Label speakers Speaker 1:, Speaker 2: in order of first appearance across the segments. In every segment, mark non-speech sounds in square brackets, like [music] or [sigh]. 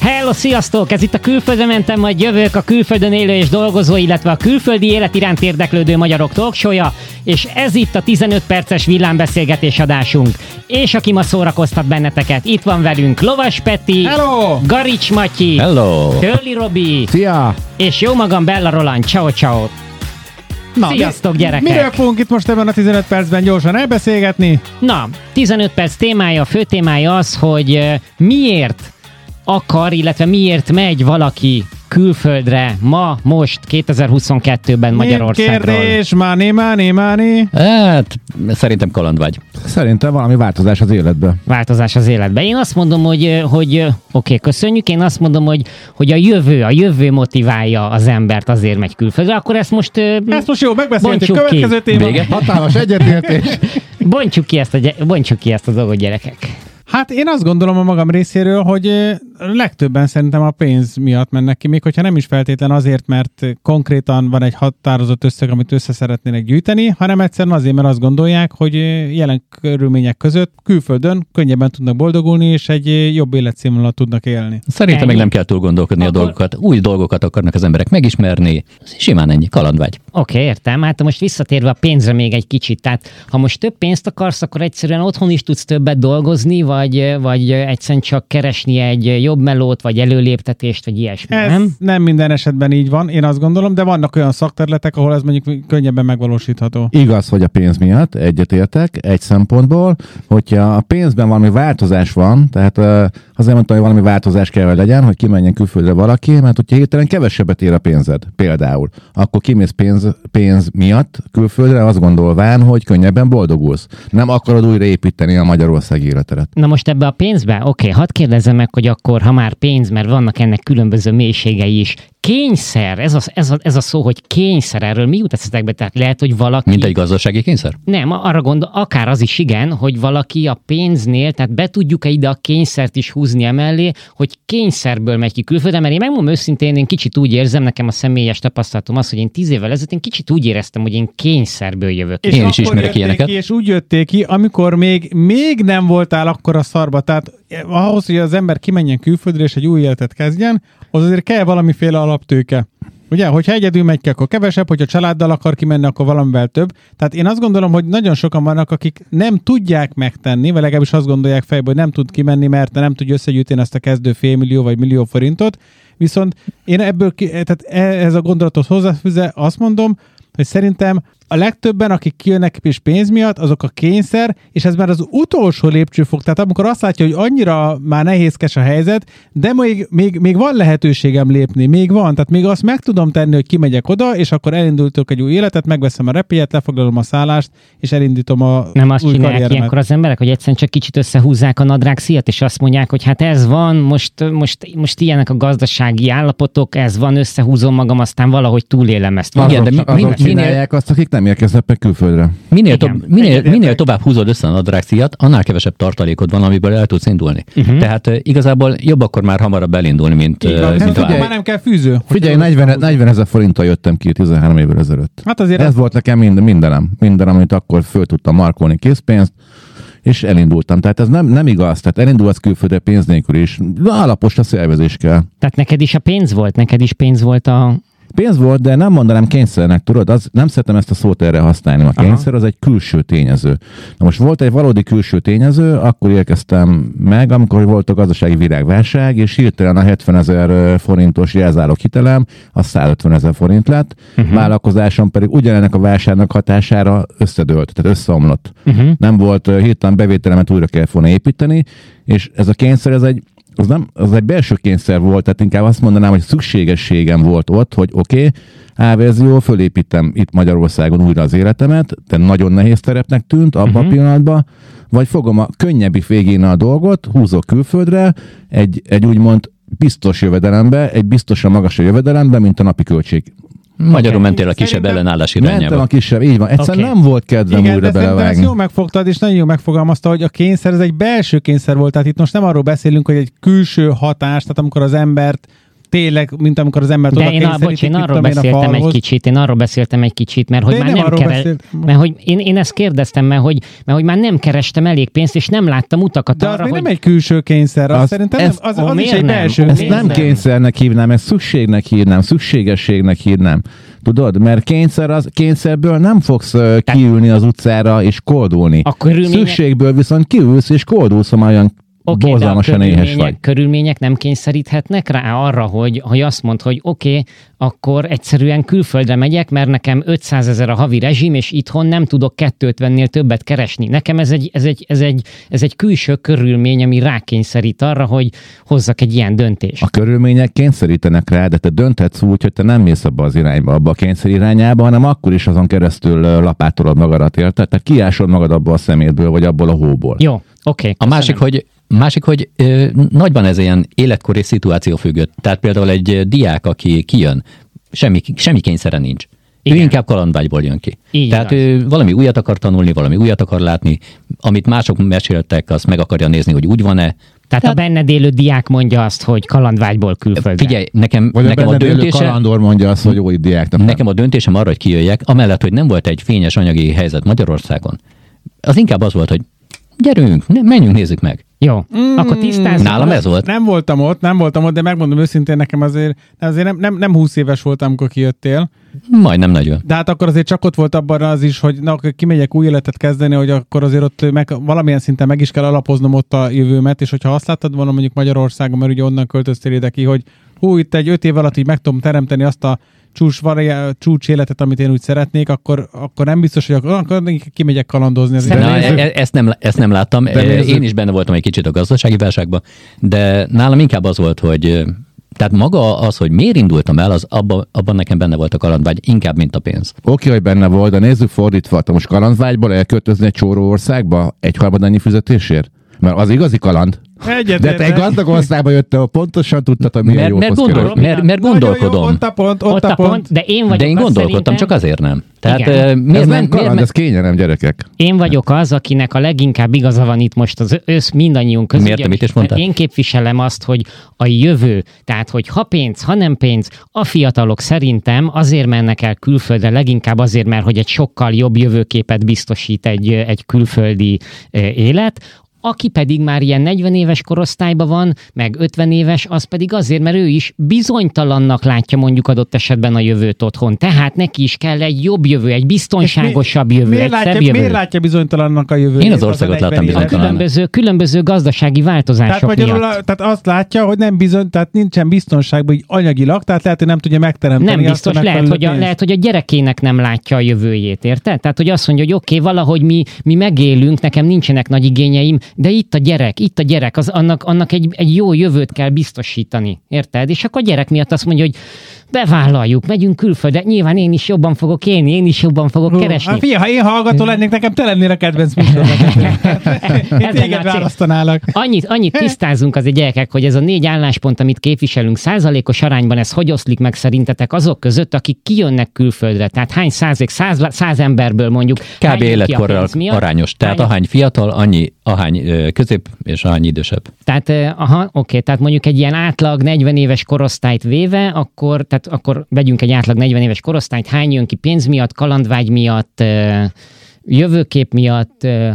Speaker 1: Hello, sziasztok! Ez itt a külföldre mentem, majd jövök a külföldön élő és dolgozó, illetve a külföldi élet iránt érdeklődő magyarok talksója, és ez itt a 15 perces villámbeszélgetés adásunk. És aki ma szórakoztat benneteket, itt van velünk Lovas Peti,
Speaker 2: Hello!
Speaker 1: Garics Matyi,
Speaker 3: Hello!
Speaker 1: Tölli Robi,
Speaker 2: Szia!
Speaker 1: és jó magam Bella Roland. Ciao, ciao.
Speaker 2: Na,
Speaker 1: Sziasztok,
Speaker 2: mi-
Speaker 1: gyerekek!
Speaker 2: Miről fogunk itt most ebben a 15 percben gyorsan elbeszélgetni?
Speaker 1: Na, 15 perc témája, a fő témája az, hogy ö, miért akar, illetve miért megy valaki külföldre ma, most, 2022-ben Magyarországról.
Speaker 2: Kérdés, máni, máni, máni.
Speaker 3: Hát, szerintem kalandvágy.
Speaker 4: Szerintem valami változás az életben.
Speaker 1: Változás az életben. Én azt mondom, hogy, ö, hogy ö, oké, köszönjük, én azt mondom, hogy, hogy a jövő, a jövő motiválja az embert azért megy külföldre, akkor ezt most ö,
Speaker 2: Ezt most jó, megbeszéltük.
Speaker 1: Bontsuk ki.
Speaker 2: Következő téma.
Speaker 3: Vége?
Speaker 4: Hatalmas egyetértés.
Speaker 1: bontsuk ki ezt a, gy- bontsuk ki ezt a dolgot, gyerekek.
Speaker 2: Hát én azt gondolom a magam részéről, hogy ö, legtöbben szerintem a pénz miatt mennek ki, még hogyha nem is feltétlen azért, mert konkrétan van egy határozott összeg, amit össze szeretnének gyűjteni, hanem egyszerűen azért, mert azt gondolják, hogy ö, jelen körülmények között külföldön könnyebben tudnak boldogulni, és egy ö, jobb életszínvonalat tudnak élni.
Speaker 3: [laughs] Szerintem
Speaker 1: Ennyi.
Speaker 3: még nem kell túl gondolkodni
Speaker 1: Akkor-
Speaker 3: a dolgokat. Új dolgokat akarnak az emberek megismerni. Simán ennyi, kalandvágy.
Speaker 1: Oké, okay, értem. Hát most visszatérve a pénzre még egy kicsit. Tehát ha most több pénzt akarsz, akkor egyszerűen otthon is tudsz többet dolgozni, vagy, vagy egyszerűen csak keresni egy jobb melót, vagy előléptetést, vagy ilyesmi,
Speaker 2: Ez
Speaker 1: nem?
Speaker 2: nem? nem minden esetben így van, én azt gondolom, de vannak olyan szakterületek, ahol ez mondjuk könnyebben megvalósítható.
Speaker 4: Igaz, hogy a pénz miatt egyetértek egy szempontból, hogyha a pénzben valami változás van, tehát ö, azért mondtam, hogy valami változás kell hogy legyen, hogy kimenjen külföldre valaki, mert hogyha hirtelen kevesebbet ér a pénzed például, akkor kimész pénz, pénz miatt külföldre azt gondolván, hogy könnyebben boldogulsz. Nem akarod újraépíteni a Magyarország életedet.
Speaker 1: Na most ebbe a pénzbe? Oké, okay, hadd kérdezzem meg, hogy akkor, ha már pénz, mert vannak ennek különböző mélységei is. Kényszer, ez a, ez a, ez a szó, hogy kényszer, erről mi jut eszetekbe? Tehát lehet, hogy valaki...
Speaker 3: Mint egy gazdasági kényszer?
Speaker 1: Nem, arra gondol, akár az is igen, hogy valaki a pénznél, tehát be tudjuk-e ide a kényszert is húzni emellé, hogy kényszerből megy ki külföldre, mert én megmondom őszintén, én kicsit úgy érzem, nekem a személyes tapasztalatom az, hogy én tíz évvel ezelőtt én kicsit úgy éreztem, hogy én kényszerből jövök.
Speaker 3: Én is
Speaker 2: akkor
Speaker 3: ismerek
Speaker 2: jötték
Speaker 3: ilyeneket.
Speaker 2: Ki, és úgy jötték ki, amikor még, még nem voltál akkor a szarba. Tehát eh, ahhoz, hogy az ember kimenjen külföldre és egy új életet kezdjen, az azért kell valamiféle alaptőke. Ugye, hogyha egyedül megy ki, akkor kevesebb, hogyha családdal akar kimenni, akkor valamivel több. Tehát én azt gondolom, hogy nagyon sokan vannak, akik nem tudják megtenni, vagy legalábbis azt gondolják fejből, hogy nem tud kimenni, mert nem tudja összegyűjteni azt a kezdő félmillió vagy millió forintot. Viszont én ebből, ki, tehát ehhez a gondolathoz hozzáfűzve azt mondom, hogy szerintem a legtöbben, akik kijönnek is pénz miatt, azok a kényszer, és ez már az utolsó lépcsőfok. Tehát amikor azt látja, hogy annyira már nehézkes a helyzet, de még, még, még van lehetőségem lépni, még van. Tehát még azt meg tudom tenni, hogy kimegyek oda, és akkor elindultok egy új életet, megveszem a repélyet, lefoglalom a szállást, és elindítom a
Speaker 1: Nem azt
Speaker 2: új
Speaker 1: csinálják
Speaker 2: karrieremet.
Speaker 1: ilyenkor az emberek, hogy egyszerűen csak kicsit összehúzzák a nadrág szíjat, és azt mondják, hogy hát ez van, most, most, most ilyenek a gazdasági állapotok, ez van, összehúzom magam, aztán valahogy túlélem ezt. Vagy
Speaker 3: Igen,
Speaker 4: Azok,
Speaker 3: de mi-
Speaker 4: azok
Speaker 3: minél-
Speaker 4: csinálják azt, akik nem érkeznek meg külföldre.
Speaker 3: Minél,
Speaker 1: Igen.
Speaker 3: tob- minél,
Speaker 2: Egyetértek.
Speaker 3: minél tovább húzod össze a nadrágszíjat, annál kevesebb tartalékod van, amiből el tudsz indulni.
Speaker 2: Mhm.
Speaker 3: Uh-huh. Tehát eh, igazából jobb akkor már hamarabb elindulni, mint, eh,
Speaker 2: Igaz,
Speaker 3: mint
Speaker 2: hát
Speaker 3: várni.
Speaker 2: ugye, már nem kell fűző. hogy-
Speaker 4: Figyelj, 40, 40 ezer forinttal jöttem ki 13 évvel ezelőtt.
Speaker 2: Hát azért
Speaker 4: Ez volt nekem minden, mindenem, minden, amit akkor föl tudtam markolni készpénzt, és elindultam. Tehát ez nem, nem igaz, tehát elindulsz külföldre pénz nélkül is. Alapos a szervezés kell.
Speaker 1: Tehát neked is a pénz volt, neked is pénz volt a,
Speaker 4: Pénz volt, de nem mondanám kényszernek, tudod? Az, nem szeretem ezt a szót erre használni. A kényszer az egy külső tényező. Na most volt egy valódi külső tényező, akkor érkeztem meg, amikor volt a gazdasági világválság, és hirtelen a 70 ezer forintos jelzálók hitelem, az 150 ezer forint lett, uh-huh. vállalkozásom pedig ugyanennek a válságnak hatására összedőlt, tehát összeomlott. Uh-huh. Nem volt ö, hirtelen bevételemet újra kellett volna építeni, és ez a kényszer, ez egy az nem, az egy belső kényszer volt, tehát inkább azt mondanám, hogy szükségességem volt ott, hogy oké, okay, A-verzió, fölépítem itt Magyarországon újra az életemet, de nagyon nehéz terepnek tűnt abban
Speaker 2: Mhm.
Speaker 4: uh-huh. a pillanatban, vagy fogom a könnyebbik végén a dolgot, húzok külföldre, egy, egy úgymond biztos jövedelembe, egy biztosan magasabb jövedelembe, mint a napi költség.
Speaker 3: Magyarul mentél a kisebb
Speaker 2: Szerintem
Speaker 3: ellenállás
Speaker 4: Mentem
Speaker 3: irányába.
Speaker 4: a kisebb, így van. Egyszerűen
Speaker 1: Oké.
Speaker 4: okay. nem volt kedvem
Speaker 2: Igen,
Speaker 4: újra
Speaker 2: de szerintem ezt
Speaker 4: belevágni.
Speaker 2: jól megfogtad, és nagyon jól megfogalmazta, hogy a kényszer, ez egy belső kényszer volt. Tehát itt most nem arról beszélünk, hogy egy külső hatás, tehát amikor az embert tényleg, mint amikor az embert
Speaker 1: De én, a, bocs, én arról beszéltem egy kicsit, én arról beszéltem egy kicsit, mert hogy
Speaker 2: én
Speaker 1: már
Speaker 2: nem
Speaker 1: nem,
Speaker 2: arról
Speaker 1: keres,
Speaker 2: beszéltem.
Speaker 1: mert hogy én, én ezt kérdeztem, mert hogy, mert hogy már nem kerestem elég pénzt, és nem láttam utakat
Speaker 2: De az
Speaker 1: arra,
Speaker 2: még
Speaker 1: hogy
Speaker 2: nem egy külső kényszer, az,
Speaker 4: Az-
Speaker 2: szerintem
Speaker 4: ezt-
Speaker 2: nem, az,
Speaker 1: ó,
Speaker 2: az is
Speaker 1: miért
Speaker 2: egy
Speaker 1: nem?
Speaker 2: belső
Speaker 1: Ezt
Speaker 4: Ezt
Speaker 2: kényszer.
Speaker 4: nem
Speaker 1: Nézd meg.
Speaker 4: kényszernek hívnám, ezt szükségnek hívnám, szükségességnek hívnám. Tudod, mert kényszer az, kényszerből nem fogsz ö, kiülni az utcára és koldulni.
Speaker 1: A körülmények-
Speaker 4: Szükségből viszont kiülsz és koldulsz, ha már olyan
Speaker 1: Oké, de a
Speaker 4: borzalmasan éhes
Speaker 1: körülmények-
Speaker 4: vagy.
Speaker 1: Körülmények nem kényszeríthetnek rá arra, hogy, hogy azt mond, hogy oké, okay, akkor egyszerűen külföldre megyek, mert nekem 500 ezer a havi rezsim, és itthon nem tudok 250-nél többet keresni. Nekem ez egy, ez, egy, ez, egy, ez egy külső körülmény, ami rákényszerít arra, hogy hozzak egy ilyen döntést.
Speaker 4: A körülmények kényszerítenek rá, de te dönthetsz úgy, hogy te nem mész abba az irányba, abba a kényszer irányába, hanem akkor is azon keresztül ö, lapátolod magadat, érted? Tehát kiásod magad abba a szemétből, vagy abból a hóból.
Speaker 1: Jó, oké. Okay,
Speaker 3: A másik, hogy Másik, hogy ö, nagyban ez ilyen életkori szituáció függött. Tehát például egy ö, diák, aki kijön, semmi, semmi kényszere nincs. Igen. Ő
Speaker 1: Igen.
Speaker 3: inkább kalandvágyból jön ki.
Speaker 1: Így
Speaker 3: Tehát
Speaker 1: van.
Speaker 3: ő valami újat akar tanulni, valami újat akar látni, amit mások meséltek, azt meg akarja nézni, hogy úgy van-e.
Speaker 1: Tehát a benned élő diák mondja azt, hogy kalandvágyból külföldre.
Speaker 3: Figyelj, nekem,
Speaker 4: Vagy
Speaker 3: nekem a
Speaker 4: benned élő
Speaker 3: döntése,
Speaker 4: kalandor mondja azt, hogy jó itt diáknak.
Speaker 3: Nekem a döntésem arra, hogy kijöjjek, amellett, hogy nem volt egy fényes anyagi helyzet Magyarországon, az inkább az volt, hogy gyerünk, ne, menjünk, nézzük meg.
Speaker 1: Jó, mm, akkor tisztázzuk.
Speaker 3: Nálam ez volt.
Speaker 2: Nem voltam ott, nem voltam ott, de megmondom őszintén, nekem azért, azért nem, nem, nem 20 éves voltam, amikor kijöttél,
Speaker 3: Majdnem nagyon.
Speaker 2: de hát akkor azért csak ott volt abban az is, hogy na, akkor kimegyek új életet kezdeni, hogy akkor azért ott meg, valamilyen szinten meg is kell alapoznom ott a jövőmet, és hogyha azt láttad volna mondjuk Magyarországon, mert ugye onnan költöztél ide ki, hogy hú, itt egy öt év alatt így meg tudom teremteni azt a csúcs, variá- csúcs életet, amit én úgy szeretnék, akkor, akkor nem biztos, hogy akkor, akkor kimegyek kalandozni. Az
Speaker 1: Szerintem-
Speaker 3: Na, e- e- ezt, nem, ezt nem láttam. E,
Speaker 4: nézzük.
Speaker 3: Én is benne voltam egy kicsit a gazdasági válságban, de nálam inkább az volt, hogy ö, tehát maga az, hogy miért indultam el, az abban, abban nekem benne volt a kalandvágy, inkább, mint a pénz.
Speaker 4: Oké, hogy benne volt, de nézzük fordítva. Te most kalandvágyból elköltözni egy csóró országba egy harmadannyi fizetésért? Mert az igazi kaland.
Speaker 2: Egyet
Speaker 4: De te egy
Speaker 2: értek.
Speaker 4: gazdag országba jöttél, ahol pontosan tudtad, hogy milyen
Speaker 3: Mert,
Speaker 4: jó
Speaker 3: mert, gondol, mert, mert
Speaker 2: Nagyon
Speaker 3: gondolkodom.
Speaker 2: Jó, ott a pont, ott,
Speaker 1: Ott a pont, de én vagyok
Speaker 3: de én
Speaker 1: az szerintem-
Speaker 3: gondolkodtam, csak azért nem. Tehát
Speaker 1: Igen.
Speaker 3: ö, miért,
Speaker 4: Ez
Speaker 3: men-
Speaker 4: nem
Speaker 3: miért,
Speaker 4: kaland,
Speaker 3: men-
Speaker 4: ez kényelem, gyerekek.
Speaker 1: Én vagyok az, akinek a leginkább igaza van itt most az össz mindannyiunk között.
Speaker 3: Miért? Te mit is mondtál?
Speaker 1: Én képviselem azt, hogy a jövő, tehát hogy ha pénz, ha nem pénz, a fiatalok szerintem azért mennek el külföldre, leginkább azért, mert hogy egy sokkal jobb jövőképet biztosít egy, egy külföldi ö, élet, aki pedig már ilyen 40 éves korosztályban van, meg 50 éves, az pedig azért, mert ő is bizonytalannak látja mondjuk adott esetben a jövőt otthon. Tehát neki is kell egy jobb jövő, egy biztonságosabb jövő,
Speaker 2: miért
Speaker 1: egy
Speaker 2: látja,
Speaker 1: szebb jövő.
Speaker 2: Miért látja bizonytalannak a jövőt?
Speaker 3: Én az országot láttam
Speaker 1: A
Speaker 3: Ezek talán-
Speaker 1: különböző, különböző gazdasági
Speaker 2: Tehát,
Speaker 1: változások
Speaker 2: magyarul,
Speaker 1: miatt.
Speaker 2: a, tehát azt látja, hogy nem bizony, tehát nincsen biztonságban így anyagilag, tehát lehet, hogy nem tudja megteremteni
Speaker 1: Nem
Speaker 2: azt a
Speaker 1: biztos, lehet
Speaker 2: megfelelő
Speaker 1: hogy, a,
Speaker 2: pénzt.
Speaker 1: lehet, hogy a gyerekének nem látja a jövőjét, érted? Tehát, hogy azt mondja, hogy oké, okay, valahogy mi, mi megélünk, nekem nincsenek nagy igényeim, de itt a gyerek, itt a gyerek, az, annak, annak egy, egy jó jövőt kell biztosítani, érted? És akkor a gyerek miatt azt mondja, hogy bevállaljuk, megyünk külföldre, nyilván én is jobban fogok élni, én is jobban fogok
Speaker 2: Hú,
Speaker 1: keresni.
Speaker 2: Hát figyelj, ha én hallgató lennék, nekem te lennél a kedvenc
Speaker 1: [laughs]
Speaker 2: műsorod. én
Speaker 1: Ezen
Speaker 2: téged
Speaker 1: látszik.
Speaker 2: választanálak.
Speaker 1: Annyit, annyit tisztázunk azért gyerekek, hogy ez a négy álláspont, amit képviselünk, százalékos arányban ez hogy oszlik meg szerintetek azok között, akik kijönnek külföldre? Tehát hány százalék, száz, száz emberből mondjuk? hány
Speaker 3: Kb.
Speaker 1: jön ki a
Speaker 3: életkorral
Speaker 1: pénz miatt?
Speaker 3: arányos. Tehát
Speaker 1: Hány-
Speaker 3: ahány fiatal, annyi, ahány ö, közép és ahány idősebb.
Speaker 1: Tehát, eh, aha, oké, tehát mondjuk egy ilyen átlag 40 éves korosztályt véve, akkor, tehát akkor vegyünk egy átlag 40 éves korosztályt, hány jön ki pénz miatt, kalandvágy miatt, eh, jövőkép miatt, eh,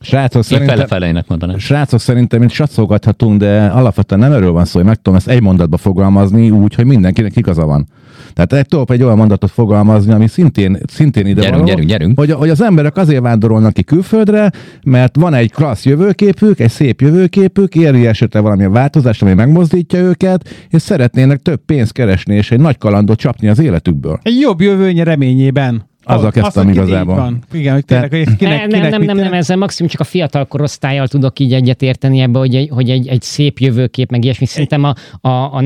Speaker 4: Srácok,
Speaker 3: Én
Speaker 4: szerintem,
Speaker 3: fele-feleinek mondanám.
Speaker 4: srácok, szerintem itt satszolgathatunk, de alapvetően nem erről van szó, hogy meg tudom ezt egy mondatba fogalmazni úgy, hogy mindenkinek igaza van. Tehát egy tudok egy olyan mondatot fogalmazni, ami szintén, szintén ide
Speaker 3: Gyerünk,
Speaker 4: való,
Speaker 3: gyerünk, gyerünk.
Speaker 4: Hogy, hogy, az emberek azért vándorolnak ki külföldre, mert van egy klassz jövőképük, egy szép jövőképük, éri esetre valamilyen változást, ami megmozdítja őket, és szeretnének több pénzt keresni, és egy nagy kalandot csapni az életükből.
Speaker 2: Egy jobb jövőnye reményében.
Speaker 4: Azzal
Speaker 2: Ott,
Speaker 4: kezdtem
Speaker 2: azt, aki
Speaker 4: igazából.
Speaker 2: így Van. Igen, hogy tényleg, hogy
Speaker 1: ne,
Speaker 2: kinek, kinek
Speaker 1: nem, nem,
Speaker 2: mit
Speaker 1: nem, nem,
Speaker 2: jelent.
Speaker 1: ezzel maximum csak a fiatal korosztályjal tudok így egyetérteni ebbe, hogy egy, hogy egy, egy szép jövőkép, meg ilyesmi. Szerintem a, a, a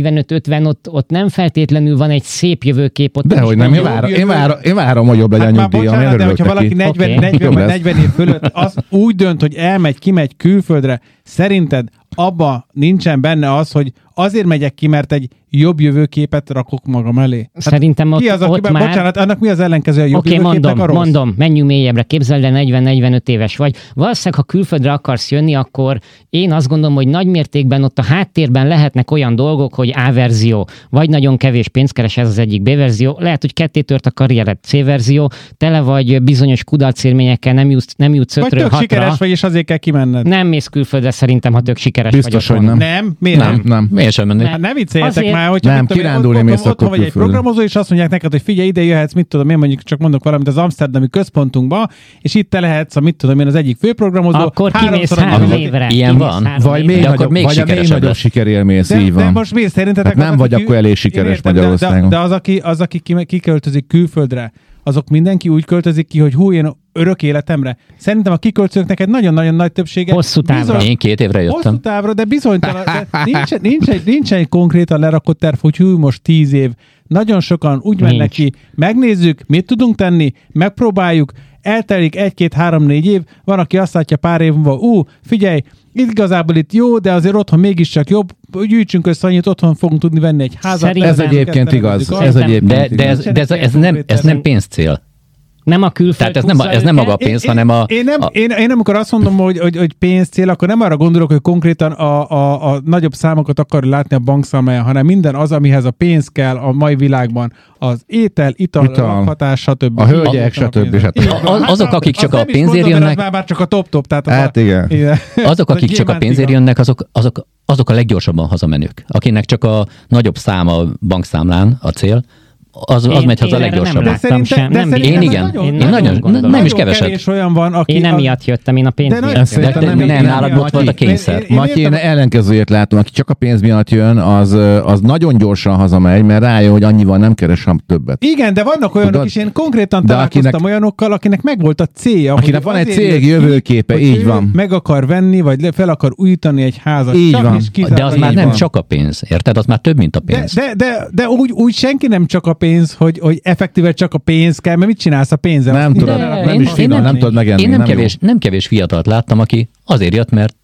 Speaker 1: 40-45-50 ott, ott nem feltétlenül van egy szép jövőkép. Ott
Speaker 4: Dehogy nem, én
Speaker 2: jó
Speaker 4: várom, én,
Speaker 2: jövő.
Speaker 4: várom, én várom, hogy jobb legyen
Speaker 2: Hát már
Speaker 4: hát nyugdíjam, én
Speaker 2: bocsánat, de
Speaker 4: örülök
Speaker 2: hogyha valaki
Speaker 4: neki.
Speaker 2: 40,
Speaker 1: Oké.
Speaker 2: 40
Speaker 4: Jobb
Speaker 2: vagy
Speaker 4: lesz.
Speaker 2: 40 év fölött az úgy dönt, hogy elmegy, kimegy külföldre, szerinted abba nincsen benne az, hogy azért megyek ki, mert egy jobb jövőképet rakok magam elé. Hát
Speaker 1: Szerintem ott,
Speaker 2: ki az,
Speaker 1: ott
Speaker 2: aki,
Speaker 1: már...
Speaker 2: bocsánat, annak mi az ellenkező a jobb
Speaker 1: Oké,
Speaker 2: jövőképnek?
Speaker 1: mondom,
Speaker 2: a rossz?
Speaker 1: mondom, menjünk mélyebbre, képzeld el, 40-45 éves vagy. Valószínűleg, ha külföldre akarsz jönni, akkor én azt gondolom, hogy nagy mértékben ott a háttérben lehetnek olyan dolgok, hogy A verzió, vagy nagyon kevés pénzt keres, ez az egyik B verzió, lehet, hogy ketté tört a karriered C verzió, tele vagy bizonyos kudarcélményekkel, nem jutsz, nem jutsz
Speaker 2: Vagy
Speaker 1: ötről
Speaker 2: tök
Speaker 1: hatra.
Speaker 2: sikeres vagy, és azért kell kimenned.
Speaker 1: Nem mész külföldre szerintem, ha tök sikeres
Speaker 4: Biztos,
Speaker 1: vagy.
Speaker 4: hogy nem.
Speaker 2: Nem? Miért nem?
Speaker 4: Nem, nem.
Speaker 3: Miért sem mennék?
Speaker 2: Hát ne vicceljetek
Speaker 1: Azért-
Speaker 2: már, hogy
Speaker 4: Nem, kirándulni mész
Speaker 2: otthon,
Speaker 4: akkor
Speaker 2: otthon vagy egy
Speaker 4: külföldre.
Speaker 2: programozó, és azt mondják neked, hogy figyelj, ide jöhetsz, mit tudom én, mondjuk csak mondok valamit az amsterdami központunkba, és itt te lehetsz, a mit tudom én, az egyik főprogramozó.
Speaker 1: Akkor kimész
Speaker 2: háromszor a
Speaker 1: három
Speaker 2: nemzeti-
Speaker 1: évre.
Speaker 3: Ilyen
Speaker 1: Kimész
Speaker 3: van?
Speaker 1: három
Speaker 4: Vagy
Speaker 1: évre.
Speaker 4: még
Speaker 3: De akkor
Speaker 4: nagyobb,
Speaker 3: még
Speaker 4: vagy a még
Speaker 3: sikeresebb
Speaker 4: nagyobb
Speaker 3: lesz.
Speaker 4: sikerélmész,
Speaker 2: De,
Speaker 4: így
Speaker 2: de
Speaker 4: van.
Speaker 2: most mi szerintetek?
Speaker 4: Hát nem
Speaker 2: az,
Speaker 4: vagy
Speaker 2: aki
Speaker 4: akkor elég
Speaker 2: én
Speaker 4: sikeres
Speaker 2: értem, de-
Speaker 4: Magyarországon.
Speaker 2: De, de az, aki, az, aki ki- kiköltözik külföldre, azok mindenki úgy költözik ki, hogy hú, én örök életemre. Szerintem a kiköltözőknek egy nagyon-nagyon nagy többsége
Speaker 1: Hosszú távra.
Speaker 2: bizony-
Speaker 3: Én két évre
Speaker 2: Hosszú
Speaker 3: jöttem.
Speaker 2: távra, de bizonytalan. De nincs, nincs, egy, nincs egy konkrétan lerakott terv, hogy hű, most tíz év. Nagyon sokan úgy
Speaker 1: Nincs.
Speaker 2: mennek ki, megnézzük, mit tudunk tenni, megpróbáljuk, eltelik egy-két-három-négy év, van, aki azt látja pár év múlva, ú, figyelj, itt igazából itt jó, de azért otthon mégiscsak jobb, gyűjtsünk össze annyit, otthon fogunk tudni venni egy házat.
Speaker 1: Szerintem-
Speaker 4: Ez egyébként igaz. Ez
Speaker 1: Szerintem-
Speaker 4: egyébként
Speaker 3: De,
Speaker 4: igaz.
Speaker 3: de, ez, de ez, ez, nem, ez nem pénzcél.
Speaker 1: Nem a külföld
Speaker 3: Tehát ez nem, a-
Speaker 1: húzza
Speaker 3: ez nem
Speaker 1: őket.
Speaker 3: maga a pénz, hanem a...
Speaker 2: Én, én, nem,
Speaker 3: a
Speaker 2: én, én amikor azt mondom, hogy, hogy, hogy pénz cél, akkor nem arra gondolok, hogy konkrétan a, a, a nagyobb számokat akar látni a bankszámláján, hanem minden az, amihez a pénz kell a mai világban. Az étel, ital,
Speaker 4: Ital.
Speaker 2: ital. lakhatás, stb.
Speaker 4: A hölgyek,
Speaker 2: Azoknak
Speaker 4: stb.
Speaker 2: pénz.
Speaker 4: stb.
Speaker 2: Így
Speaker 3: A-
Speaker 2: van.
Speaker 3: az- azok,
Speaker 2: Hát,
Speaker 3: akik csak
Speaker 2: azt
Speaker 3: a
Speaker 2: nem is
Speaker 3: pénzért
Speaker 2: mondom, mert az
Speaker 3: jönnek-
Speaker 2: Már, már csak a top-top. Tehát az
Speaker 4: Hát
Speaker 2: a,
Speaker 4: igen.
Speaker 3: [laughs] Azok,
Speaker 2: az
Speaker 3: akik csak a
Speaker 2: gyémánti
Speaker 3: pénzért
Speaker 2: van.
Speaker 3: jönnek, azok, azok, azok a leggyorsabban hazamenők. Akinek csak a nagyobb szám a bankszámlán a cél, az, az
Speaker 1: Én-
Speaker 3: megy haza
Speaker 1: én
Speaker 3: a
Speaker 1: erre nem
Speaker 3: leggyorsabban.
Speaker 1: láttam
Speaker 2: szerintem-
Speaker 1: sem,
Speaker 2: de
Speaker 1: nem
Speaker 2: szerintem
Speaker 3: Én
Speaker 2: ez
Speaker 3: igen.
Speaker 2: nagyon-
Speaker 3: Én
Speaker 1: nagyon
Speaker 3: nagyon,
Speaker 1: gondolom.
Speaker 3: nem is
Speaker 2: Nagyon
Speaker 3: keveset.
Speaker 2: kevés olyan van, aki...
Speaker 1: Én
Speaker 2: a-
Speaker 1: emiatt jöttem, én a pénz
Speaker 2: De nagy-
Speaker 1: miatt
Speaker 4: Szerintem
Speaker 3: De-
Speaker 1: jöttem.
Speaker 3: de- nem,
Speaker 4: nem,
Speaker 3: nálad ott volt a
Speaker 4: Matyi.
Speaker 3: kényszer.
Speaker 2: Én- én
Speaker 4: Matyi, én
Speaker 2: értem-
Speaker 4: ellenkezőjét látom, aki csak a pénz miatt jön, az, ö, az nagyon gyorsan hazamegy, mert rájön, hogy annyival nem keres hanem többet.
Speaker 2: Igen, de vannak olyanok
Speaker 4: Tudod?
Speaker 2: is, én konkrétan
Speaker 4: De
Speaker 2: találkoztam
Speaker 4: akinek-
Speaker 2: olyanokkal, akinek megvolt a célja.
Speaker 4: Akinek
Speaker 2: hogy
Speaker 4: van egy
Speaker 2: azért
Speaker 4: cég
Speaker 2: jött ki,
Speaker 4: jövőképe,
Speaker 2: hogy
Speaker 4: így
Speaker 2: ő
Speaker 4: van.
Speaker 2: Meg akar venni, vagy le- fel akar újítani egy házat.
Speaker 4: Így
Speaker 2: Csak
Speaker 4: van.
Speaker 2: is kizárólag
Speaker 3: De az
Speaker 2: így
Speaker 3: már nem
Speaker 2: van.
Speaker 3: csak a pénz, érted? Az már több, mint a
Speaker 2: De,
Speaker 3: pénz.
Speaker 2: de, de, de úgy, úgy senki nem csak a pénz, hogy, hogy effektíve csak a pénz kell, mert mit csinálsz a pénzzel?
Speaker 4: Nem
Speaker 2: Mit
Speaker 4: tudod,
Speaker 2: csinálsz?
Speaker 4: nem is
Speaker 3: én
Speaker 4: finom,
Speaker 3: nem-
Speaker 4: nem tudod megenni.
Speaker 3: Én nem,
Speaker 4: jó.
Speaker 3: kevés, nem kevés fiatalt láttam, aki azért jött, mert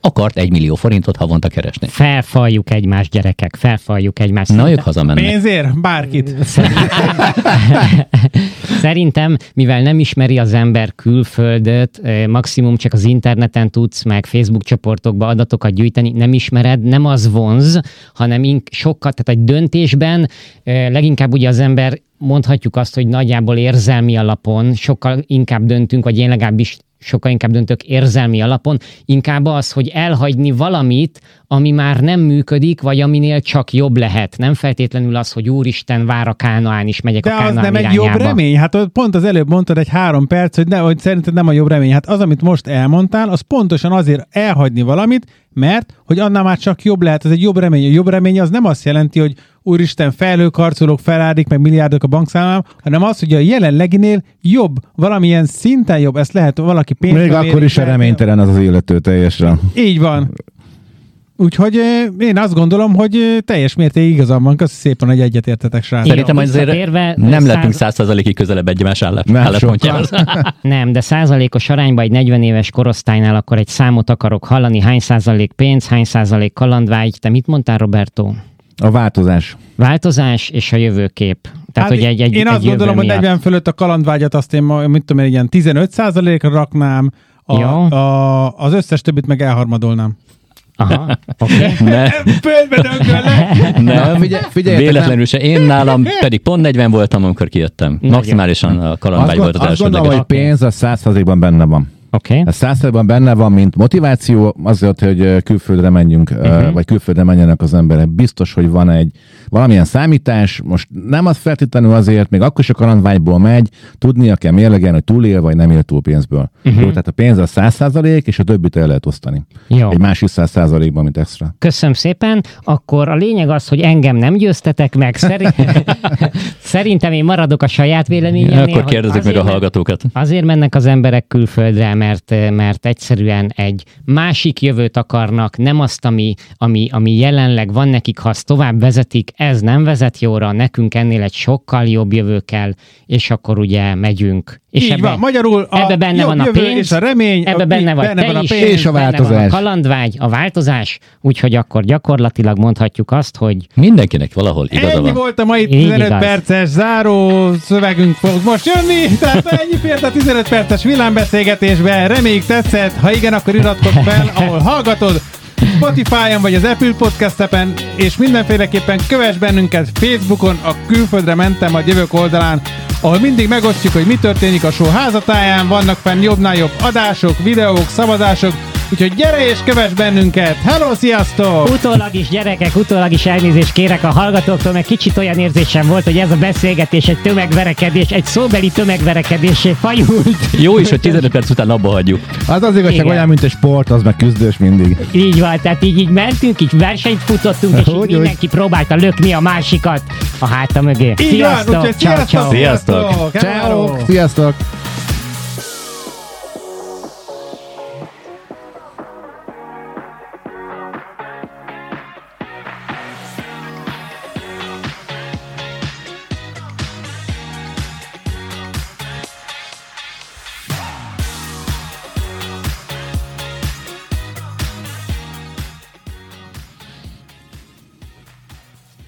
Speaker 3: akart egy millió forintot havonta keresni.
Speaker 1: Felfaljuk egymást, gyerekek, felfaljuk egymást.
Speaker 3: Na, ők
Speaker 1: Szerintem-
Speaker 3: hazamennek.
Speaker 2: Pénzért? Bárkit.
Speaker 1: Szerintem, mivel nem ismeri az ember külföldöt, eh, maximum csak az interneten tudsz, meg Facebook csoportokba adatokat gyűjteni, nem ismered, nem az vonz, hanem ink- sokkal, tehát egy döntésben eh, leginkább ugye az ember mondhatjuk azt, hogy nagyjából érzelmi alapon sokkal inkább döntünk, vagy én legalábbis sokkal inkább döntök érzelmi alapon, inkább az, hogy elhagyni valamit, ami már nem működik, vagy aminél csak jobb lehet. Nem feltétlenül az, hogy úristen, vár a Kánaán is megyek
Speaker 2: De
Speaker 1: a
Speaker 2: az
Speaker 1: Kánaán
Speaker 2: nem egy
Speaker 1: irányába.
Speaker 2: jobb remény. Hát ott pont az előbb mondtad egy három perc, hogy, ne, hogy szerinted nem a jobb remény. Hát az, amit most elmondtál, az pontosan azért elhagyni valamit, mert hogy annál már csak jobb lehet. Ez egy jobb remény. A jobb remény az nem azt jelenti, hogy úristen, felhőkarcolók, felárdik, meg milliárdok a bankszámlám, hanem az, hogy a jelenleginél jobb, valamilyen szinten jobb. Ezt lehet valaki pénzben
Speaker 4: Még akkor
Speaker 2: mérni,
Speaker 4: is a
Speaker 2: tehát-
Speaker 4: reménytelen az az illető teljesen.
Speaker 2: Így van. Úgyhogy ö, én azt gondolom, hogy ö, teljes mértékig igazam van. Köszi szépen, hogy egyetértetek, srácok.
Speaker 3: Szerintem
Speaker 1: Jó,
Speaker 3: azért
Speaker 1: visszatérve,
Speaker 3: nem
Speaker 1: száz-
Speaker 3: lettünk százszerzalékig közelebb egymás állás-
Speaker 4: Nem
Speaker 3: álláspontjához.
Speaker 1: Nem, de százalékos arányban egy 40 éves korosztálynál akkor egy számot akarok hallani, hány százalék pénz, hány százalék kalandvágy. Te mit mondtál, Roberto?
Speaker 4: A változás.
Speaker 1: Változás és a jövőkép. Tehát,
Speaker 2: Hát
Speaker 1: hogy egy, egy,
Speaker 2: én
Speaker 1: egy
Speaker 2: azt gondolom, hogy
Speaker 1: jövő miatt.
Speaker 2: 40 fölött a kalandvágyat azt én, ma- mit tudom én, ilyen 15%-ra raknám, a,
Speaker 1: Jó.
Speaker 2: a, az összes többit meg elharmadolnám.
Speaker 1: Aha,
Speaker 2: [laughs]
Speaker 1: okay.
Speaker 3: Ne,
Speaker 2: Földbe döngöl le!
Speaker 4: Na,
Speaker 3: nem.
Speaker 4: figyelj- figyeljetek,
Speaker 3: Véletlenül se. Én nálam pedig pont 40 voltam, amikor kijöttem. Maximálisan a
Speaker 4: Azt,
Speaker 3: kalandvágy
Speaker 4: gond,
Speaker 3: volt az
Speaker 4: azt gondolom,
Speaker 3: elsődleges.
Speaker 4: hogy pénz a százszerzékban benne van.
Speaker 1: okay.
Speaker 4: A százszerzékban benne van, mint motiváció, azért, hogy ö, külföldre menjünk, uh-huh. vagy külföldre menjenek az emberek. Biztos, hogy van egy valamilyen számítás, most nem az feltétlenül azért, még akkor is a kalandvágyból megy, tudnia kell mérlegen, hogy túlél, vagy nem él túl pénzből. Uh-huh. Jó, tehát a pénz a száz százalék, és a többit el lehet osztani.
Speaker 1: Jó.
Speaker 4: Egy másik száz százalékban, mint extra.
Speaker 1: Köszönöm szépen. Akkor a lényeg az, hogy engem nem győztetek meg.
Speaker 2: [laughs]
Speaker 1: Szerint... Szerintem én maradok a saját véleményemnél.
Speaker 3: Akkor
Speaker 1: hogy
Speaker 3: kérdezzük meg
Speaker 1: azért
Speaker 3: a
Speaker 1: men-
Speaker 3: hallgatókat.
Speaker 1: Azért mennek az emberek külföldre, mert, mert egyszerűen egy másik jövőt akarnak, nem azt, ami, ami, ami jelenleg van nekik, ha azt tovább vezetik, ez nem vezet jóra, nekünk ennél egy sokkal jobb jövő kell, és akkor ugye megyünk És
Speaker 2: Így van, magyarul a
Speaker 1: ebbe benne
Speaker 2: jobb
Speaker 1: van a
Speaker 2: jövő
Speaker 1: pénz,
Speaker 2: és a remény,
Speaker 1: ebbe
Speaker 2: a-
Speaker 1: benne vagy
Speaker 2: benne
Speaker 1: te
Speaker 2: van a
Speaker 1: is,
Speaker 2: pénz
Speaker 4: és a
Speaker 1: benne van
Speaker 4: változás.
Speaker 1: a kalandvágy, a változás, úgyhogy akkor gyakorlatilag mondhatjuk azt, hogy
Speaker 3: Mindenkinek valahol igaza
Speaker 2: Ennyi
Speaker 3: van.
Speaker 2: volt a mai
Speaker 1: Így
Speaker 2: 15
Speaker 1: igaz.
Speaker 2: perces záró szövegünk fog most jönni, tehát ennyi fért a 15 perces villámbeszélgetésbe. Reméljük tetszett, ha igen, akkor
Speaker 1: [laughs]
Speaker 2: iratkozz fel, ahol hallgatod, Spotify-on vagy az Apple Podcast appen, és mindenféleképpen kövess bennünket Facebookon, a külföldre mentem a jövők oldalán, ahol mindig megosztjuk, hogy mi történik a show házatáján, vannak fenn jobbnál jobb adások, videók, szavazások, úgyhogy gyere és kövess bennünket! Hello, sziasztok!
Speaker 1: Utólag is, gyerekek, utólag is elnézést kérek a hallgatóktól, mert kicsit olyan érzésem volt, hogy ez a beszélgetés egy tömegverekedés, egy szóbeli tömegverekedésé fajult. [laughs]
Speaker 3: Jó is, hogy 15 perc után abba hagyjuk.
Speaker 4: Hát Az az igazság
Speaker 1: Igen.
Speaker 4: olyan, mint egy sport, az meg küzdős mindig.
Speaker 1: Így van, tehát így, így mentünk, így versenyt futottunk, és
Speaker 4: Hogy,
Speaker 1: így
Speaker 4: hogy?
Speaker 1: mindenki próbálta lökni a másikat a háta mögé.
Speaker 2: Így van, úgyhogy
Speaker 1: ciao, ciao.
Speaker 2: sziasztok!
Speaker 3: Sziasztok!
Speaker 2: Hello!
Speaker 4: Ciao, sziasztok!